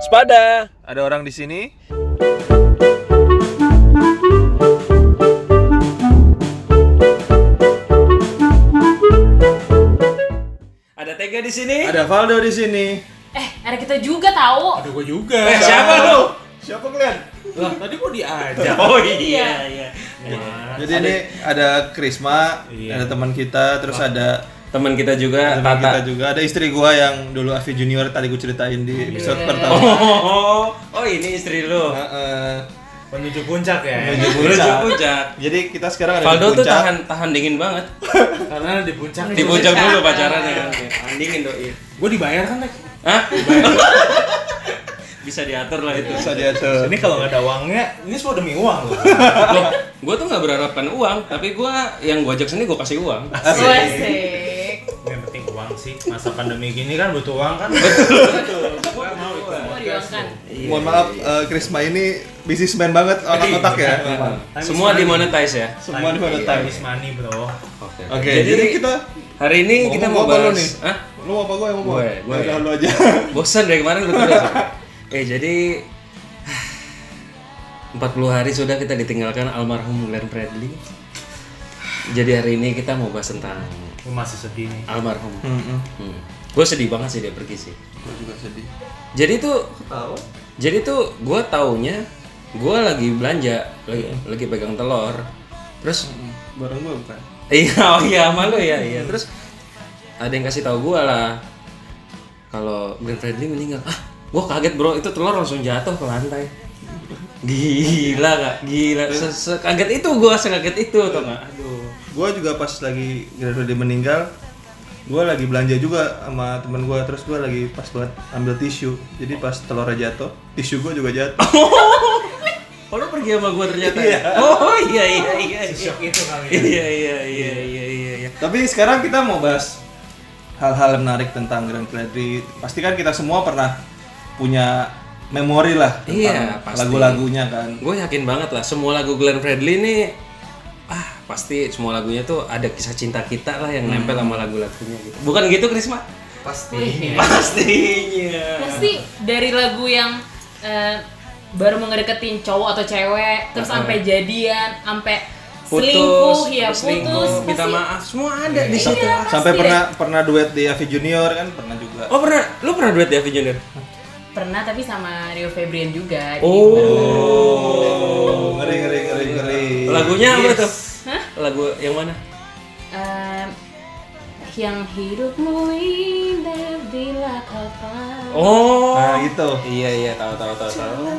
Sepada. Ada orang di sini. Ada Tega di sini. Ada Valdo di sini. Eh, ada kita juga tahu. Aduh, gue juga. Eh, siapa lu? Siapa kalian? Lah, tadi gue diajak. Oh iya iya. Jadi ini ada Krisma, Iya. ada teman kita, terus ada Teman kita juga teman Tata. kita juga, ada istri gua yang dulu Avi Junior tadi gua ceritain di episode pertama. Iya. Oh, oh ini istri lu. Heeh. Menuju puncak ya. Menuju Lucu puncak. puncak. Jadi kita sekarang ada Valdo di tuh puncak. tahan tahan dingin banget. Karena di puncak Di puncak dulu pacarannya kan. Tahan dingin doi. gue dibayar kan, Tek? Hah? Bisa diatur lah itu. Bisa diatur. Ini kalau nggak ada uangnya, ini semua demi uang loh. Loh, gue tuh nggak berharapkan uang, tapi gue yang gue ajak sini gue kasih uang. Asik. yang penting uang sih. Masa pandemi gini kan butuh uang kan. Gue mau ikut Mau podcast. diuangkan. Iya. Mohon maaf, eh, Krisma ini bisnismen banget otak-otak Iya. ya. Time is Semua money. dimonetize ya. Semua di Time- mana Time time. is money, bro. Oke. Oke, jadi kita hari ini kita ngomong mau apa lu bahas. nih? Hah? ya, lu apa gua yang mau Gue, gue. Udah, lu aja. Bosan dari kemarin gue terus. eh jadi 40 hari sudah kita ditinggalkan almarhum Glenn Fredly. Jadi hari ini kita mau bahas tentang Gue masih sedih nih. almarhum. Heeh. Hmm. Gue sedih banget sih dia pergi sih. Gua juga sedih. Jadi tuh Jadi tuh gue taunya gue lagi belanja, lagi, lagi pegang telur. Terus Barang gua bukan. iya oh iya malu ya iya. Terus ada yang kasih tahu gue lah kalau Glenn Fredly meninggal. Ah, gue kaget bro, itu telur langsung jatuh ke lantai. Gila kak, gila. Se- Sekaget itu gue, sekaget itu tau gak? Aduh. gue juga pas lagi Gerardo dia meninggal gue lagi belanja juga sama temen gue terus gue lagi pas banget ambil tisu jadi pas telurnya jatuh tisu gue juga jatuh Oh lu pergi sama gue ternyata. ya? Oh iya iya iya. iya. Shock itu kali. ya. Iya iya iya iya iya. iya. tapi sekarang kita mau bahas hal-hal yang menarik tentang Grand Prix pasti kan kita semua pernah punya memori lah Iya, tentang pasti. Iya, lagu-lagunya kan gue yakin banget lah semua lagu Glenn Fredly ini ah pasti semua lagunya tuh ada kisah cinta kita lah yang nempel Hmm. sama lagu-lagunya gitu bukan gitu Krisma Wih. pastinya Pasti dari lagu yang eh, baru mau ngedeketin cowok atau cewek, terus sampai jadian, sampai selingkuh, ya terus putus, selingkuh, minta pasti. Iya. maaf semua ada di situ sampai pasti pernah pernah duet di Avi Junior kan pernah juga oh pernah lu pernah duet ya Avi Junior Pernah tapi sama Rio Febrian juga. di- oh ngeri ngeri ngeri ngeri lagunya apa tuh lagu yang mana Em, yang hidupmu indah bila kau tahu. oh nah gitu iya iya tahu tahu tahu tahu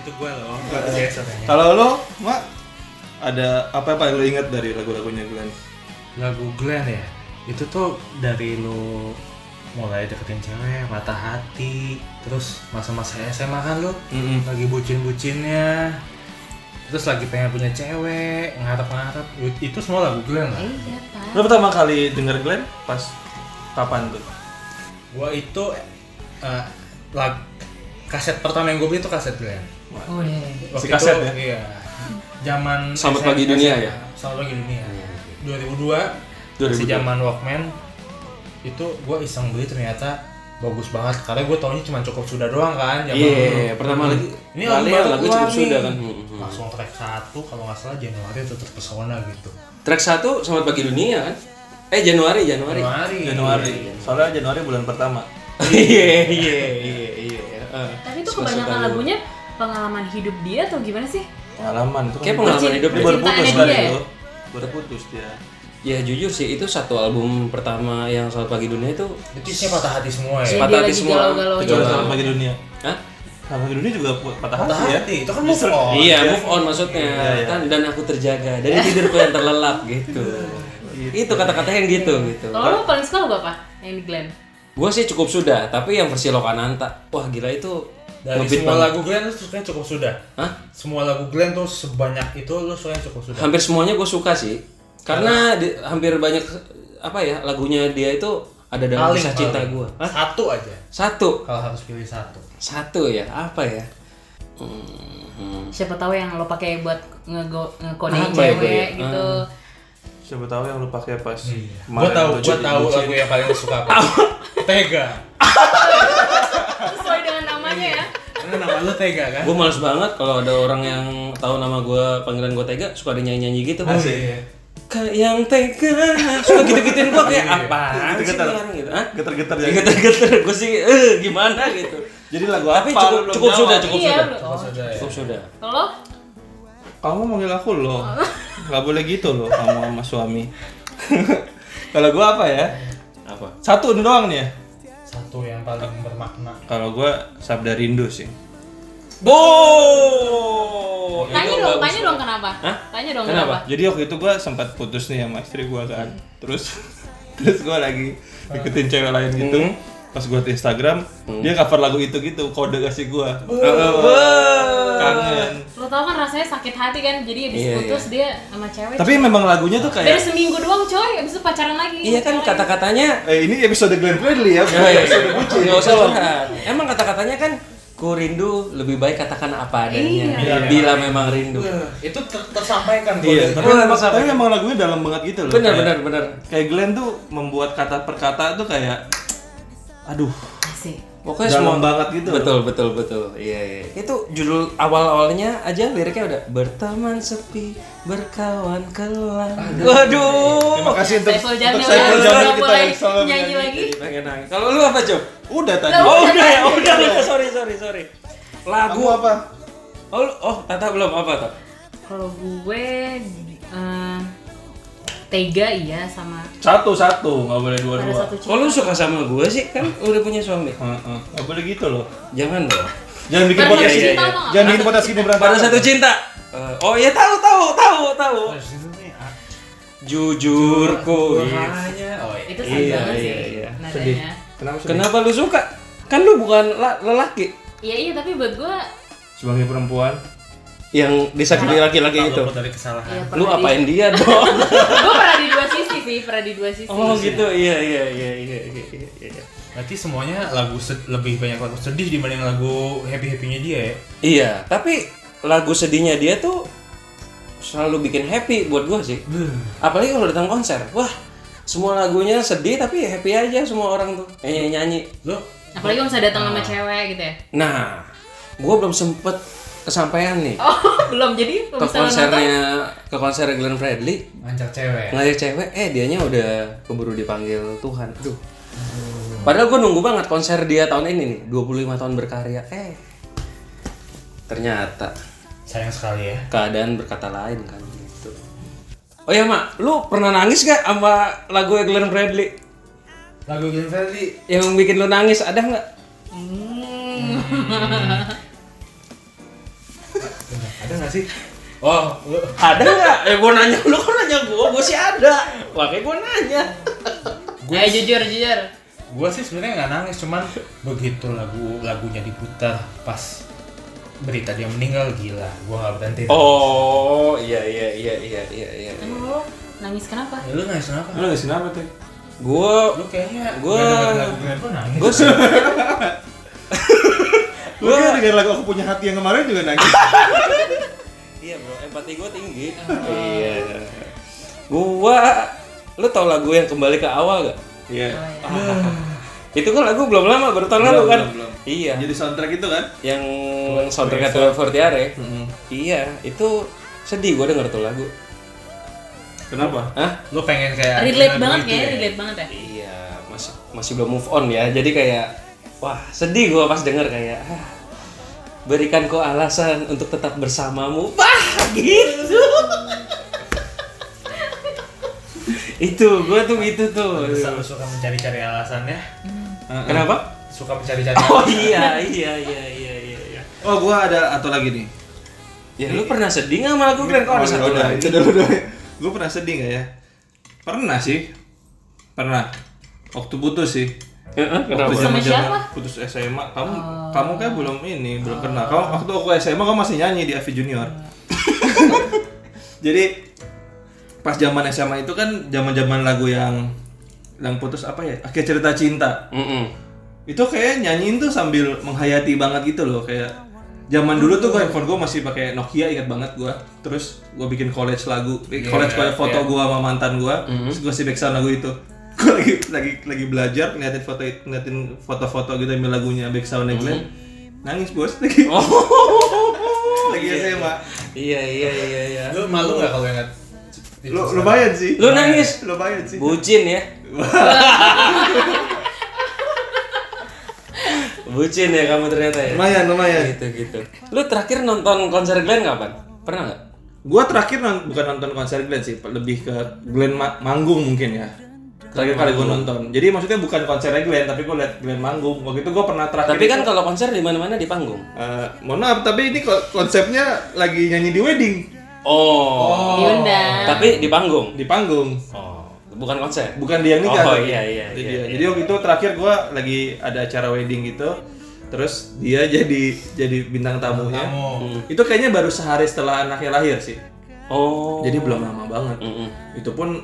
Itu gue loh. Gue biasa tanya. Eh, Kalau lo, Mak, ada apa apa yang lo ingat dari lagu-lagunya Glenn? Lagu Glenn ya. Itu tuh dari lu mulai deketin cewek, patah hati, terus masa-masa SMA kan lu lagi bucin-bucinnya terus lagi pengen punya cewek ngarep-ngarep itu semua lagu Glenn lah Iya, Pak. Lo pertama kali denger Glenn pas kapan tuh? gua itu eh, lag- kaset pertama yang gue beli itu kaset Glenn Oh, iya. Si waktu kaset itu, ya? iya zaman Selamat SMA, Pagi Dunia ya? iya, Selamat Pagi Dunia 2002 masih 2002. zaman Walkman itu gue iseng beli ternyata bagus banget karena gue taunya cuma cukup sudah doang kan zaman dulu. Iya, pertama lagi Ini lagu kali ya, baru lagu keluar cukup nih. sudah kan. Hmm, hmm. langsung track satu kalau nggak salah Januari itu terpesona gitu Track 1 Selamat Pagi Dunia kan? Eh Januari, Januari. Januari Januari. Soalnya Januari bulan pertama. Iya, iya, iya, iya. Eh, Tapi itu suka-suka kebanyakan lu. lagunya pengalaman hidup dia atau gimana sih? Pengalaman itu kan. Kayak pengalaman hidup dia dia. baru putus Cintaannya kali dia ya? lo. Baru putus dia. Ya jujur sih itu satu album pertama yang Selamat Pagi Dunia itu itu isinya patah hati semua Jadi ya Patah dia hati lagi semua. galau-galau Kecuali Iya. sama pagi dunia. Hah? Sama pagi dunia juga pu- patah patah hati ya. hati itu kan move on Iya, iya, move on maksudnya. Kan dan aku terjaga dari tidurku yang terlelap gitu. Itu kata-kata yang gitu gitu. Kalau lu paling suka lagu apa? Yang di Glenn? Gua sih cukup sudah, tapi yang versi Lokananta. Wah, gila itu dari ngebeat semua banget. lagu Glenn tuh sukanya cukup sudah Hah? semua lagu Glenn tuh sebanyak itu lu sukanya cukup sudah hampir semuanya gue suka sih karena di- hampir banyak apa ya lagunya dia itu ada dalam Paling, kisah paling. cinta gue satu aja satu kalau harus pilih satu satu ya apa ya Siapa tahu yang lo pakai buat ngego ngekodein Apa ya, gue cewek ya? gitu. Siapa tahu yang lo pakai pas. Iya. gua tahu gua tahu lagu yang paling lu suka apa Tega. sesuai dengan namanya ya Karena nama lu Tega kan? Gue males banget kalau ada orang yang tahu nama gue panggilan gue Tega suka ada nyanyi nyanyi gitu. Oh iya. Kayak yang Tega suka gitu gituin gue kayak apa? sih Getar-getar. ini orang gitu? Hah? Geter-geter ya. Getar getar gue sih eh gimana gitu. Jadi lagu apa? Tapi cukup Lu belum cukup jawab. sudah cukup iya sudah belum oh. Sudah ya. cukup sudah. kalau Kamu manggil aku loh. Gak boleh gitu loh kamu sama suami. Kalau gua apa ya? Apa? Satu doang nih ya. Satu yang paling bermakna. Kalau gua Sabda Rindu sih. Bo. tanya Itu dong bagus tanya dong banget. kenapa Hah? tanya dong Kenapa? kenapa, Jadi waktu itu gua sempat putus nih sama istri gua kan. Terus terus gua lagi ikutin cewek lain gitu. Pas gua di Instagram, dia cover lagu itu gitu, kode kasih gua. Oh. Kangen. lo tau kan rasanya sakit hati kan jadi habis Iya, putus dia sama cewek Tapi memang lagunya tuh dari kayak seminggu doang coy abis itu pacaran lagi Iya kan kata-katanya eh ini episode Glenn Fredly ya. Iya, bukan episode bucin. Nggak usah curhat. Emang kata-katanya kan ku rindu lebih baik katakan apa adanya. Iya. Bila memang rindu. Itu ter- tersampaikan kok. Iya, tapi, Gua memang, sampai- tapi memang lagunya dalam banget gitu loh. Benar benar Kayak- benar. Kayak Glenn tuh membuat kata per kata tuh kayak aduh, Asik. Pokoknya Dalam semua banget gitu. Betul betul betul. Iya iya. Itu judul awal-awalnya aja liriknya udah berteman sepi, berkawan kelam. Waduh. Terima kasih untuk Saiful Jamil untuk Saiful ya, Jamil udah kita mulai yang selalu nyanyi lagi. Pengen nangis. Kalau lu apa, Cuk? Udah tadi. Oh, udah ya, udah, udah. Sorry, sorry, sorry. Aku Lagu apa? Oh, lu- oh, Tata belum apa, Tata? Kalau gue eh, tega iya sama Satu satu, nggak boleh dua ada dua. satu Kok cewek. lu suka sama gue sih? Kan udah punya suami. Heeh, Nggak boleh gitu loh. Jangan dong. Jangan bikin Karena podcast iya, ini. iya, iya. Jangan bikin podcast ini Pada berantakan. satu cinta. Eh, oh iya tahu tahu tahu tahu. Terus itu nih ah, Jujurku. hanya oh iya. Itu sedih Iya, banget iya, sih iya. Sedih. nadanya. Kenapa sedih? Kenapa lu suka? Kan lu bukan la- lelaki Iya iya tapi buat gue Sebagai perempuan, yang disakiti laki-laki itu. Luput dari kesalahan. ya Lu pernah apain dia dong? di, gue pernah di dua sisi sih pernah di dua sisi. oh gitu. Iya iya iya iya iya, iya. Berarti semuanya lagu sed- lebih banyak lagu sedih dibanding lagu happy-happynya dia ya. Iya, tapi lagu sedihnya dia tuh selalu bikin happy buat gua sih. Apalagi kalau datang konser. Wah, semua lagunya sedih tapi happy aja semua orang tuh. Eh nyanyi. Lu Apalagi kalau misalnya datang Oh. sama cewek gitu ya. Nah, gua belum sempet kesampaian nih. Oh belum jadi ke misalnya nonton konsernya ke konser Glenn Fredly ngajak cewek. ngajak cewek eh dianya udah keburu dipanggil Tuhan aduh padahal gue nunggu banget konser dia tahun ini nih 25 tahun berkarya eh ternyata Sayang sekali ya. keadaan berkata lain kan gitu oh ya mak lu pernah nangis gak sama lagu Glenn Fredly Lagu Glenn Fredly yang bikin lu nangis ada nggak ada nggak sih? Oh, lu ada nggak eh gue nanya lu kok nanya gue gue sih ada makanya gue nanya gue Eh jujur jujur. gue sih sebenarnya nggak nangis cuman begitu lagu lagunya diputar pas berita dia meninggal gila gue nggak berhenti oh iya iya iya iya iya iya Emang lo nangis kenapa? Ya, lu nangis kenapa lu nggak apa tuh? gue lu kayaknya Gua- gue nangis gue sih Lu kan dengar lagu aku punya hati yang kemarin juga nangis. Iya bro, empati gue tinggi. Iya. Gua, lu tau lagu yang kembali ke awal gak? Iya. Itu kan lagu belum lama, baru tahun lalu kan? belum, belum. Iya. Jadi soundtrack itu kan? Yang soundtracknya Tuan Fortiare. Iya, itu sedih gue denger tuh lagu. Kenapa? Hah? lu pengen Relate kayak lagu gitu banget itu kayaknya, ya? relate banget ya. Iya, masih masih belum move on ya. Jadi kayak, wah sedih gue pas denger kayak. "Ah, Berikan kau alasan untuk tetap bersamamu. Wah, gitu. itu, gue tuh gitu tuh. Terus lu suka mencari-cari alasannya Kenapa? suka mencari-cari Oh iya iya iya iya iya. iya. Oh, gua ada atau lagi nih. Ya lu pernah sedih nggak sama lagu Glenn? Kok ada satu lagi? Itu dulu dulu. Gue pernah sedih nggak ya? Pernah sih. Pernah. Waktu putus sih. Heeh, Waktu Kenapa? Sama zaman-zaman siapa? Oh. Putus SMA. Kamu kamu kayak belum ini, belum kenal. Kamu waktu aku SMA kamu masih nyanyi di AV Junior. Jadi pas zaman SMA itu kan zaman-zaman lagu yang yang putus apa ya? Akhir cerita cinta. Mm-mm. itu kayak nyanyiin tuh sambil menghayati banget gitu loh kayak zaman dulu tuh gue handphone gue masih pakai Nokia ingat banget gue terus gue bikin college lagu eh, college college foto gue sama mantan gue terus gue si background lagu itu gue lagi lagi lagi belajar ngeliatin foto ngeliatin foto-foto gitu ambil lagunya back soundnya Glenn nangis bos lagi Oh, lagi SMA iya iya iya iya Lu malu nggak kalau ingat? lu lumayan sih Lu nangis? lumayan sih bucin ya bucin ya kamu ternyata ya lumayan lumayan gitu gitu lu terakhir nonton konser Glenn kapan pernah nggak Gua terakhir non- bukan nonton konser Glenn sih, lebih ke Glenn ma- manggung mungkin ya. Terakhir kali gua nonton. Jadi maksudnya bukan konsernya Glenn, tapi gua liat Glenn manggung. Waktu itu gua pernah terakhir. tapi kan kalau konser di mana mana di panggung Eh, mohon maaf, tapi ini ko- konsepnya lagi nyanyi di wedding, oh, Diundang. tapi di panggung di panggung. oh bukan konser Bukan dia yang nikah. Oh, tapi. iya, iya, Itu iya, dia. Jadi waktu itu terakhir gua lagi ada acara wedding gitu. Terus dia jadi jadi bintang tamunya. Kamu Itu kayaknya baru sehari setelah anaknya lahir sih. oh Mm, Jadi belum lama banget. Mm-mm. itu pun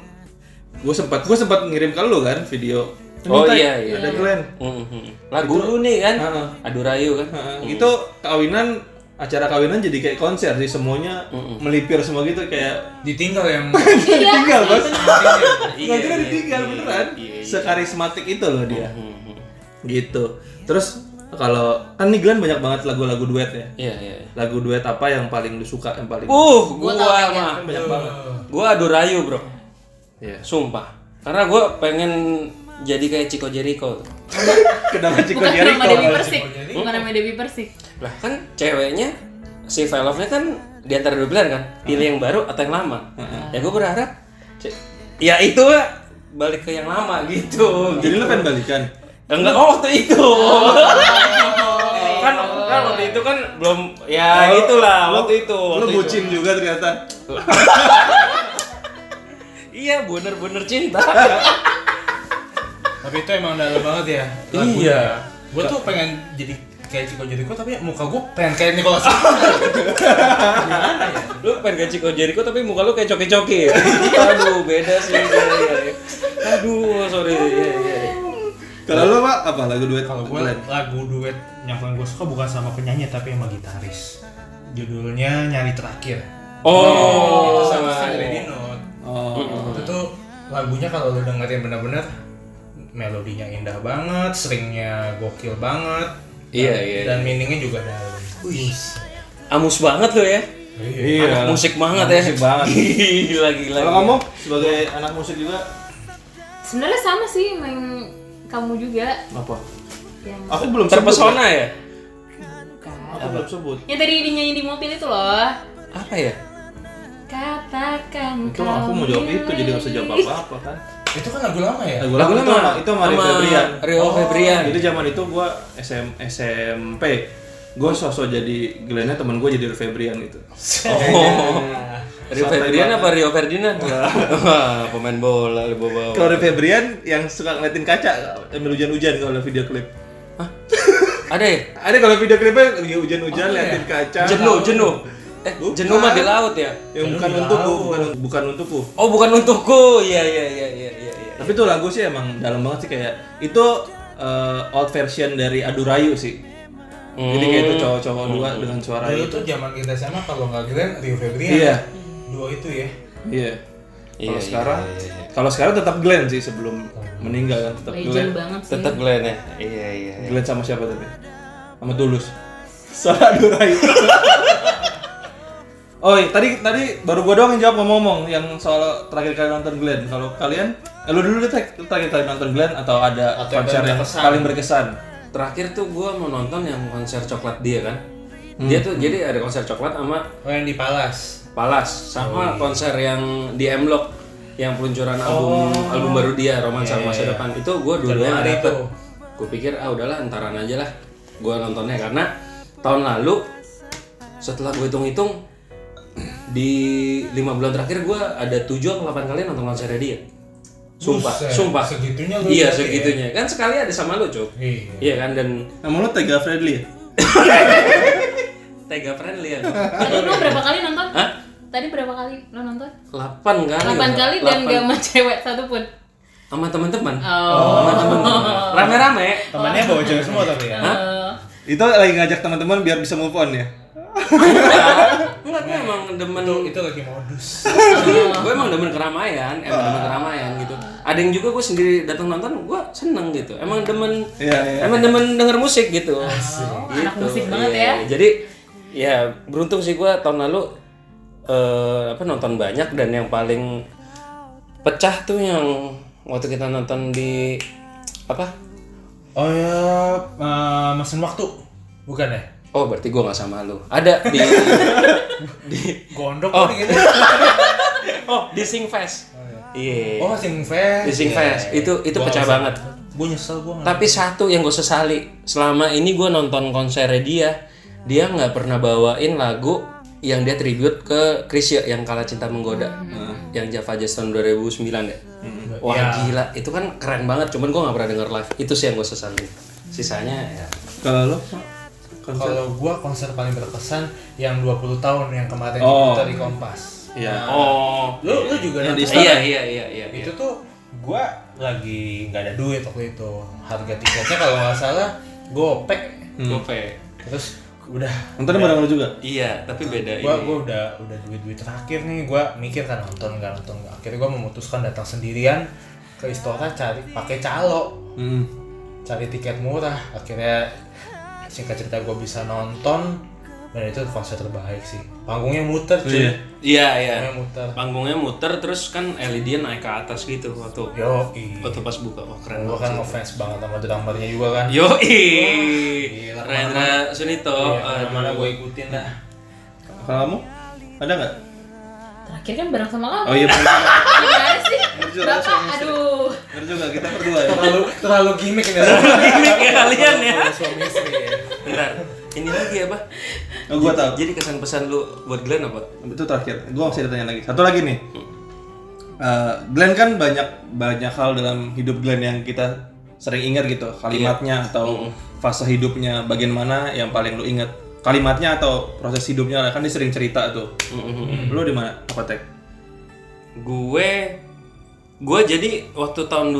gue sempat gue sempat ngirim ke lu kan video Oh, ya? Minta, iya, iya, ada iya. Glenn Eh? Mm-mm. lagu lu nih kan Heeh. adu rayu kan Heeh, itu kawinan acara kawinan jadi kayak konser sih semuanya Hmm. melipir semua gitu kayak ditinggal yang Iya. tinggal bos Iya, nanti kan iya, ditinggal iya, beneran iya, Hmm. iya. sekarismatik itu loh dia Mm-mm. gitu terus kalau kan nih Glenn banyak banget lagu-lagu duet ya iya iya iya. lagu duet apa yang paling lu suka yang paling uh gua tau kayaknya. mah banyak banget gua adu rayu bro Iya. sumpah karena gua pengen jadi kayak Chico Jericho tuh. kenapa Chico Bukan nama Dewi Jericho Persik. Bukan nama Dewi Persik. lah kan ceweknya si Velove nya kan di antara dua pilihan kan pilih yang baru atau yang lama ya gue berharap ce- ya itu lah, balik ke yang lama gitu jadi lu pengen balikan enggak oh waktu itu kan kan waktu itu kan belum ya gitulah Lu- waktu itu lu waktu itu. bucin juga ternyata iya bener-bener cinta Tapi itu emang dalam banget ya Iya. Gue tuh pengen jadi kayak Chico Jericho tapi muka gue pengen kayak Nicholas lu pengen kayak Chico Jericho tapi muka lu kayak coki-coki ya? aduh beda sih Iya, iya, iya. aduh sorry Iya, iya, iya. Kalau lo pak apa lagu duet? Kalau gue Glenn? lagu duet yang paling gue suka bukan sama penyanyi tapi sama gitaris Judulnya Nyari Terakhir oh Itu sama sama Andre Dinot Oh. Itu tuh lagunya kalau lu dengerin bener-bener Melodinya indah banget, stringnya gokil banget iya iya Dan meaningnya juga dalam amus banget lo ya Iya Anak musik banget ya. musik banget. gila gila. Kalau kamu sebagai anak musik juga Sebenarnya sama sih sama yang kamu juga apa? yang Aku belum sebut, terpesona ya? ya. Aku belum sebut. yang tadi dinyanyi di mobil itu loh. Apa ya? Katakan Itu kau aku mau jawab itu jadi nggak usah jawab apa apa kan? Itu kan lagu lama ya? Eh, Lagu lama itu sama, itu sama Rio Febrian. Oh. Rio Febrian. Jadi zaman itu gua SM, SMP. Gua sosok jadi Glennnya temen gua jadi Rio Febrian gitu. Oh. Rio Santai Febrian banget. apa Rio Ferdinand? Wah, pemain bola di bawah. Kalau Rio Febrian yang suka ngeliatin kaca ambil hujan-hujan kalau video klip. Ada ya? Ada kalau video klipnya lagi hujan-hujan liatin kaca. Jenuh, jenuh. Eh, Bukan. jenuh mah di laut ya? Yang bukan untukku, bukan bukan untukku. Oh, bukan untukku. Iya, iya, iya, iya, iya. iya. Tapi tuh lagu sih emang dalam banget sih kayak itu uh, old version dari Adu Rayu sih. Jadi kayak itu cowok-cowok dua dengan suara Dulu itu. tuh zaman kita SMA kalau nggak Glenn, Rio Febrian Iya. Dua itu ya Iya. Iya, Kalau sekarang kalau sekarang tetap Glenn sih sebelum meninggal kan tetap Glenn. legend banget sih. Tetap Glenn ya. Iya, iya. iya. Glenn sama siapa tadi? Sama Tulus. Suara Adu Rayu. Oh, iya, tadi tadi baru gua doang yang jawab ngomong-ngomong yang soal terakhir kali nonton Glenn. Kalau kalian, eh, lu dulu deh Tek. Lu terakhir kali nonton Glenn atau ada Atau yang konser yang berkesan. paling berkesan? Terakhir tuh gue mau nonton yang konser coklat dia kan. Dia tuh jadi ada konser coklat sama Oh yang di Palas Palas Oh, iya. sama konser yang di Mlock yang peluncuran album Oh. album baru dia Romansa Iya, Masa Depan itu gue dulu yang Januari dapet tuh. gue pikir ah udahlah entaran aja lah gue nontonnya karena tahun lalu setelah gue hitung-hitung di lima bulan terakhir gue ada tujuh atau delapan kali nonton konsernya dia sumpah Buset, sumpah segitunya lu iya berarti ya? segitunya kan sekali ada sama lu cuk Iya iya kan dan Nama lu Tega Friendly ya? tega friendly ya Tadi lu berapa kali nonton? Hah? Tadi berapa kali lo nonton? delapan kali 8 kali Iya, dan Delapan. gak sama cewek satupun. sama teman-teman Oh. sama teman-teman rame-rame Temannya bawa cewek semua tapi ya Eh, Itu lagi ngajak teman-teman biar bisa move on ya. Enggak, gue emang demen Itu lagi modus gue emang demen keramaian, emang demen keramaian gitu. ada yang juga gue sendiri datang nonton gue seneng gitu emang demen Iya, iya. emang demen denger musik gitu Gitu. Oh, anak musik banget Iya, ya. iya. jadi ya beruntung sih gue tahun lalu eh, apa nonton banyak dan yang paling pecah tuh yang waktu kita nonton di apa Oh ya, eh, mesin waktu. Bukan ya? oh berarti gue nggak sama lu ada di Gondok Oh. kali gitu. oh di Singfest iya Oh, sing fest. di Singfest itu itu Gua pecah nggak banget Gue nyesel gue nggak. Tapi satu yang gue sesali selama ini gue nonton konsernya dia, dia nggak pernah bawain lagu yang dia tribute ke Chrisye yang kalah cinta menggoda, yang Java Jazz tahun 2009 ya. Wah gila, itu kan keren banget. Cuman gue nggak pernah denger live. Itu sih yang gue sesali. Sisanya ya. Kalau lo konser Kalau gue konser paling berkesan yang 20 tahun yang kemarin Oh. diputar di Kompas. Iya. Oh, Lu lu juga Yang di nonton? iya iya iya iya. itu tuh gua lagi nggak ada duit waktu itu harga tiketnya kalau nggak salah gopek Gope. terus udah Nontonnya bareng lo juga? Iya, tapi beda gua ini. gua udah udah duit duit terakhir nih gua mikir kan nonton nggak nonton akhirnya gua memutuskan datang sendirian ke istora cari pakai calo Hmm. cari tiket murah akhirnya singkat cerita gua bisa nonton dan itu konser terbaik sih panggungnya muter cuy Iya Iya. iya. panggungnya muter Panggungnya muter terus kan Ellie dia naik ke atas gitu waktu yo waktu pas buka. Wah keren gua banget. kan ngefans banget sama drummernya juga kan Iya. Yoi, Gila, Rendra Sunito. Iya, mana gue ikutin dah. Kalau kamu ada nggak? Terakhir kan bareng sama kamu. Oh iya bener juga. Gimana sih? Jujur, Bapak, saya aduh. Bener juga kita berdua ya. Terlalu terlalu gimmick ini. Terlalu gimmick ya kalian ya. Suami istri ya. Bentar, ini lagi apa? Oh, gua tahu. Jadi kesan pesan lu buat Glenn apa? Itu terakhir. Gua masih ada tanya lagi. Satu lagi nih. Eh, Glenn kan banyak banyak hal dalam hidup Glenn yang kita sering ingat gitu kalimatnya atau fase hidupnya bagian mana yang paling lu ingat kalimatnya atau proses hidupnya lah kan dia sering cerita tuh lu di mana apa tek Gue, gue jadi waktu tahun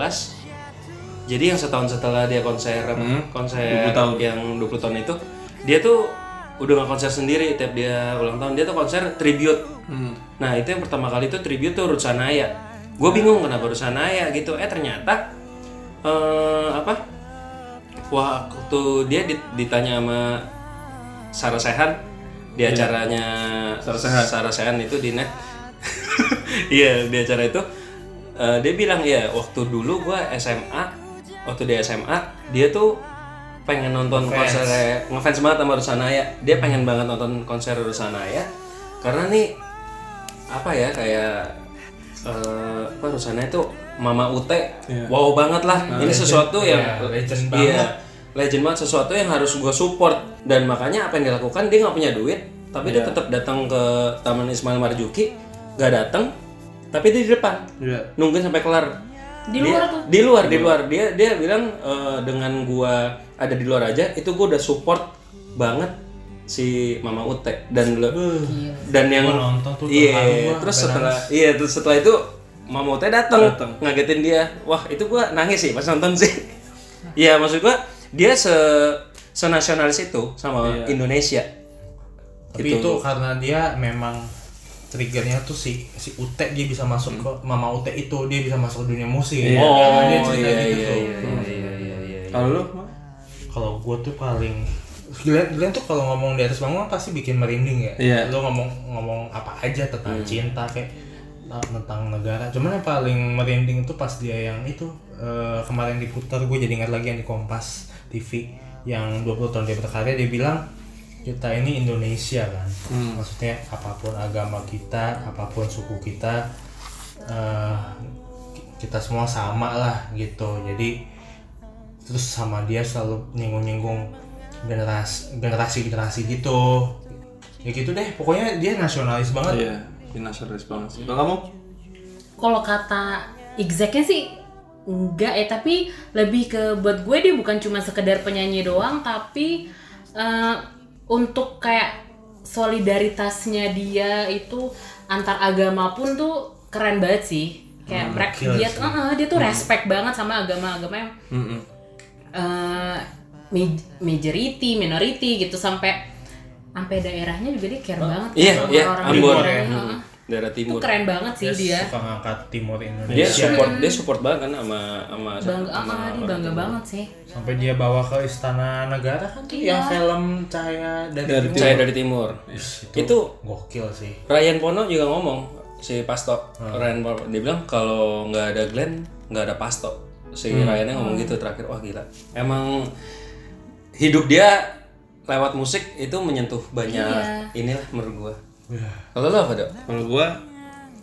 2015, jadi yang setahun setelah dia konser apa? konser 20 tahun. yang 20 tahun itu, dia tuh udah nggak konser sendiri tiap dia ulang tahun dia tuh konser tribute Nah itu yang pertama kali itu tribute tuh Rutsanaya. Gue bingung kenapa Rutsanaya gitu. Eh ternyata eh, apa? Waktu dia dit- ditanya sama Sarah Sehan di acaranya Iya. Sarah Sehan, itu di net. Iya di acara itu eh, dia bilang ya waktu dulu gue SMA waktu di SMA dia tuh pengen nonton konser ngefans banget sama Rusanaya dia pengen banget nonton konser Rusanaya karena nih apa ya kayak eh apa Rusana itu Mama Ute wow banget lah ini sesuatu yang Iya, legend iya, legend banget sesuatu yang harus gue support dan makanya apa yang dilakukan dia nggak punya duit tapi dia tetap datang ke Taman Ismail Marzuki nggak datang tapi dia di depan Iya. nungguin sampai kelar Di Dia- luar tuh. di luar di luar dia dia bilang eh, dengan gua ada di luar aja itu gua udah support banget si Mama Ute dan le- dan yang nonton tuh terharu iya gua, terus sampai setelah iya terus setelah itu Mama Ute datang Datang. ngagetin dia wah itu gua nangis sih pas nonton sih iya maksud gua dia se senasionalis itu sama Indonesia Tapi itu karena dia memang triggernya tuh si si Ute dia bisa masuk ke Mama Ute itu dia bisa masuk dunia oh musik. dia Hmm. iya cerita iya gitu iya tuh. iya iya iya kalau lu Kalau gue tuh paling Glenn, Glenn tuh kalau ngomong di atas bangunan pasti bikin merinding ya. Iya. Lu ngomong ngomong apa aja tentang cinta kayak nah, tentang negara. Cuman yang paling merinding itu pas dia yang itu eh, kemarin diputar gue jadi ingat lagi yang di Kompas TV yang 20 tahun dia berkarya dia bilang kita ini Indonesia kan. Maksudnya apapun agama kita, apapun suku kita eh, kita semua sama lah gitu. Jadi terus sama dia selalu nyinggung-nyinggung generasi generasi generasi gitu ya gitu deh pokoknya dia nasionalis banget iya dinasaris banget sih kalau kamu Kalau kata exactnya sih enggak ya, tapi lebih ke buat gue dia bukan cuma sekedar penyanyi doang, tapi eh, untuk kayak solidaritasnya dia itu antar agama pun tuh keren banget sih. Hmm, Kayak mereka dia, eh, eh, dia tuh respect banget sama agama-agama yang eh, mi- majority, minority gitu sampai sampai daerahnya juga dia care banget Iya, sama iya, orang Ambon. ya. daerahnya. Heeh. daerah itu timur. keren banget sih dia dia suka ngangkat timur Dia Indonesia support dia support banget kan sama sama bangga sama ah dia orang bangga timur. banget sih sampai dia bawa ke istana negara kan tuh Iya. yang film cahaya dari Dari timur Saya dari timur. itu, Itu- gokil sih Ryan Pono juga ngomong si Pasto Ryan Pono dia bilang kalau nggak ada Glenn nggak ada Pasto si Ryannya ngomong gitu terakhir wah gila emang hidup dia lewat musik itu menyentuh banyak inilah menurut gua Wah, kalau lo apa dok Kalau gua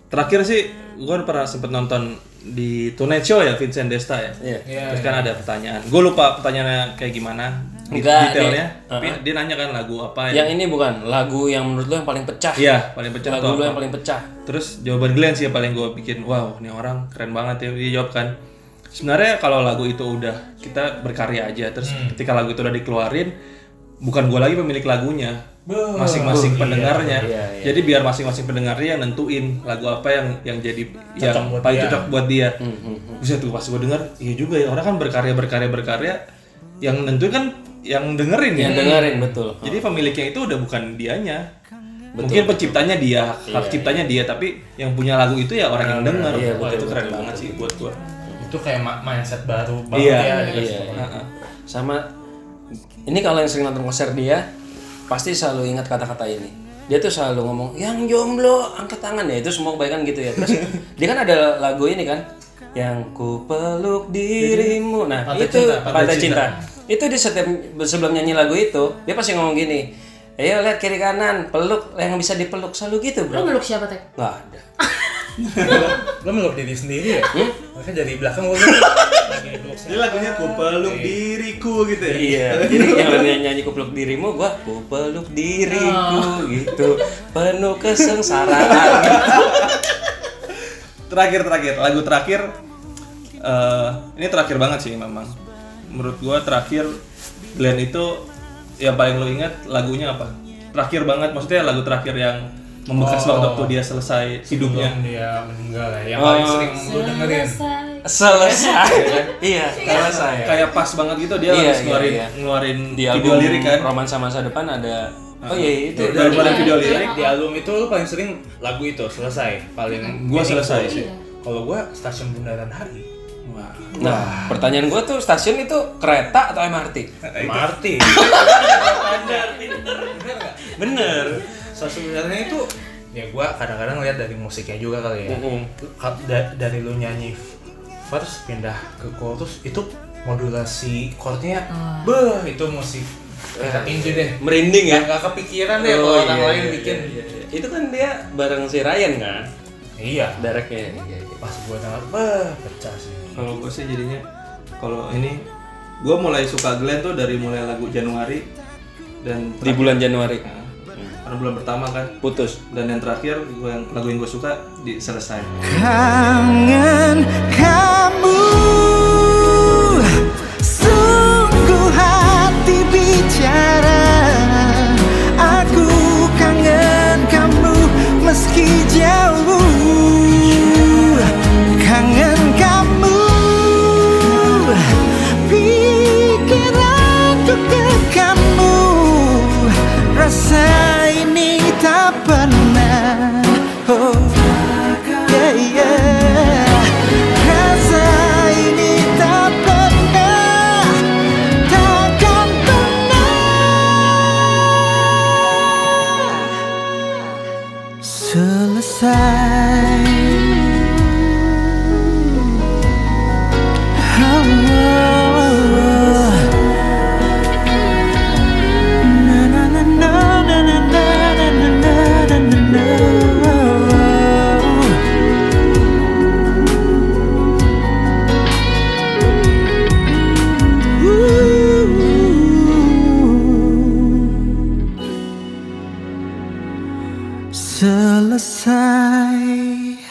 terakhir sih gua pernah sempet nonton di Tonight Show ya Vincent Desta ya. Iya. Terus kan ada pertanyaan. Gua lupa pertanyaannya kayak gimana di- Enggak, detailnya. dia- Tapi dia nanya kan lagu apa ya. yang ini bukan lagu yang menurut lo yang paling pecah Iya, paling pecah lagu lo yang paling pecah Terus jawaban Glenn sih yang paling gue bikin, wow ini orang keren banget ya, dia jawab kan. Sebenarnya kalau lagu itu udah, kita berkarya aja. Terus ketika lagu itu udah dikeluarin, bukan gue lagi pemilik lagunya. Masing-masing pendengarnya. Jadi biar masing-masing pendengarnya yang nentuin lagu apa yang yang jadi yang paling cocok buat dia. Bisa tuh pas gue denger, iya juga ya orang kan berkarya berkarya berkarya, yang nentuin kan yang dengerin ya. yang dengerin betul Jadi pemiliknya itu udah bukan dianya. Mungkin penciptanya dia, Iya, hak ciptanya dia, tapi yang punya lagu itu ya orang yang denger. Wah, itu keren banget sih buat gua. itu kayak ma- mindset baru banget Iya. ya dari Iya, sekolah. iya. sama ini kalau yang sering nonton konser dia pasti selalu ingat kata-kata ini dia tuh selalu ngomong yang jomblo angkat tangan ya itu semua kebanyakan gitu ya terus dia kan ada lagu ini kan yang ku peluk dirimu nah Pantai itu Cinta, pantai, Pantai cinta. itu di setiap sebelum nyanyi lagu itu dia pasti ngomong gini ayo lihat kiri kanan peluk yang bisa dipeluk selalu gitu bro lo meluk siapa teh nggak ada lo meluk diri sendiri ya Hmm? makanya dari belakang gue lagi meluk Jadi lagunya ku peluk diriku gitu ya. Iya, jadi yang lainnya nyanyi ku peluk dirimu, gua ku peluk diriku gitu. Penuh kesengsaraan. Terakhir terakhir lagu terakhir eh, ini terakhir banget sih memang. Menurut gua terakhir Glenn itu yang paling lo ingat lagunya apa? Terakhir banget maksudnya lagu terakhir yang membekas Oh. banget waktu dia selesai hidupnya. Sebelum dia meninggal ya yang Oh. paling sering lo dengerin Selesai. Selesai. iya, selesai. Kayak pas banget gitu dia Iya, harus ngeluarin iya, iya. ngeluarin Di video album lirik kan. Romansa masa depan ada Oh iya itu. Baru ada video lirik. di album itu lo paling sering lagu itu selesai paling Gua selesai sih. kalau gua stasiun bundaran hari Wah. Nah, pertanyaan gua tuh stasiun itu kereta atau Nah, MRT? Marti Bener. so sebenarnya itu ya gua kadang-kadang lihat dari musiknya juga kali ya Ka- da- dari lu nyanyi f- first pindah ke chorus itu modulasi chordnya beuh, itu musik kita tinju deh Oh, iya, Merinding ya. Oh, iya, nggak Iya. nggak kepikiran deh kalau orang lain bikin Itu kan dia bareng si Ryan kan, iya directnya. Iya, iya. pas gua denger beuh, pecah sih Kalau gue sih jadinya kalau ini gue mulai suka Glenn tuh dari mulai lagu Januari dan Di bulan Januari karena bulan pertama kan putus. dan yang terakhir gua yang lagu yang gue suka di selesai. Kangen kamu Sungguh hati bicara Aku kangen kamu meski jauh Kangen kamu Pikiranku ke kamu Rasa ini tak pernah Oh yeah, yeah. Rasa ini tak pernah, takkan pernah selesai. Oh, oh, oh. Na na na na na na na na na na na na. Ooh. Selesai.